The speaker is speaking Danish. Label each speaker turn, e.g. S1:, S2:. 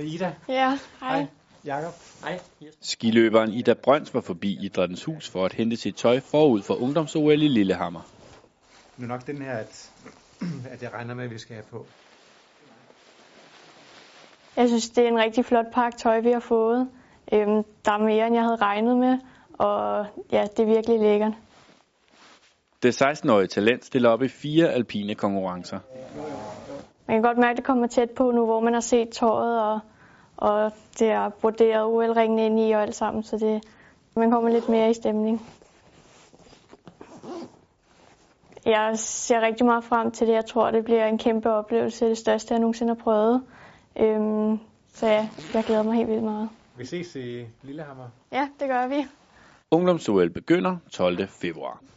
S1: Ida.
S2: Ja, hej.
S1: Jakob. Hej.
S3: Skiløberen Ida Brøns var forbi Idrættens Hus for at hente sit tøj forud for ungdoms-OL i Lillehammer.
S1: Nu er nok den her, at, at jeg regner med, at vi skal have på.
S2: Jeg synes, det er en rigtig flot pakke tøj, vi har fået. Øhm, der er mere, end jeg havde regnet med, og ja, det er virkelig lækkert.
S3: Det 16-årige talent stiller op i fire alpine konkurrencer.
S2: Man kan godt mærke, at det kommer tæt på nu, hvor man har set tøjet, og, og det er broderet OL-ringene ind i og alt sammen, så det, man kommer lidt mere i stemning. Jeg ser rigtig meget frem til det. Jeg tror, det bliver en kæmpe oplevelse. Det største, jeg nogensinde har prøvet. Øhm, så ja, jeg glæder mig helt vildt meget.
S1: Vi ses i Lillehammer.
S2: Ja, det gør vi.
S3: Ungdoms-OL begynder 12. februar.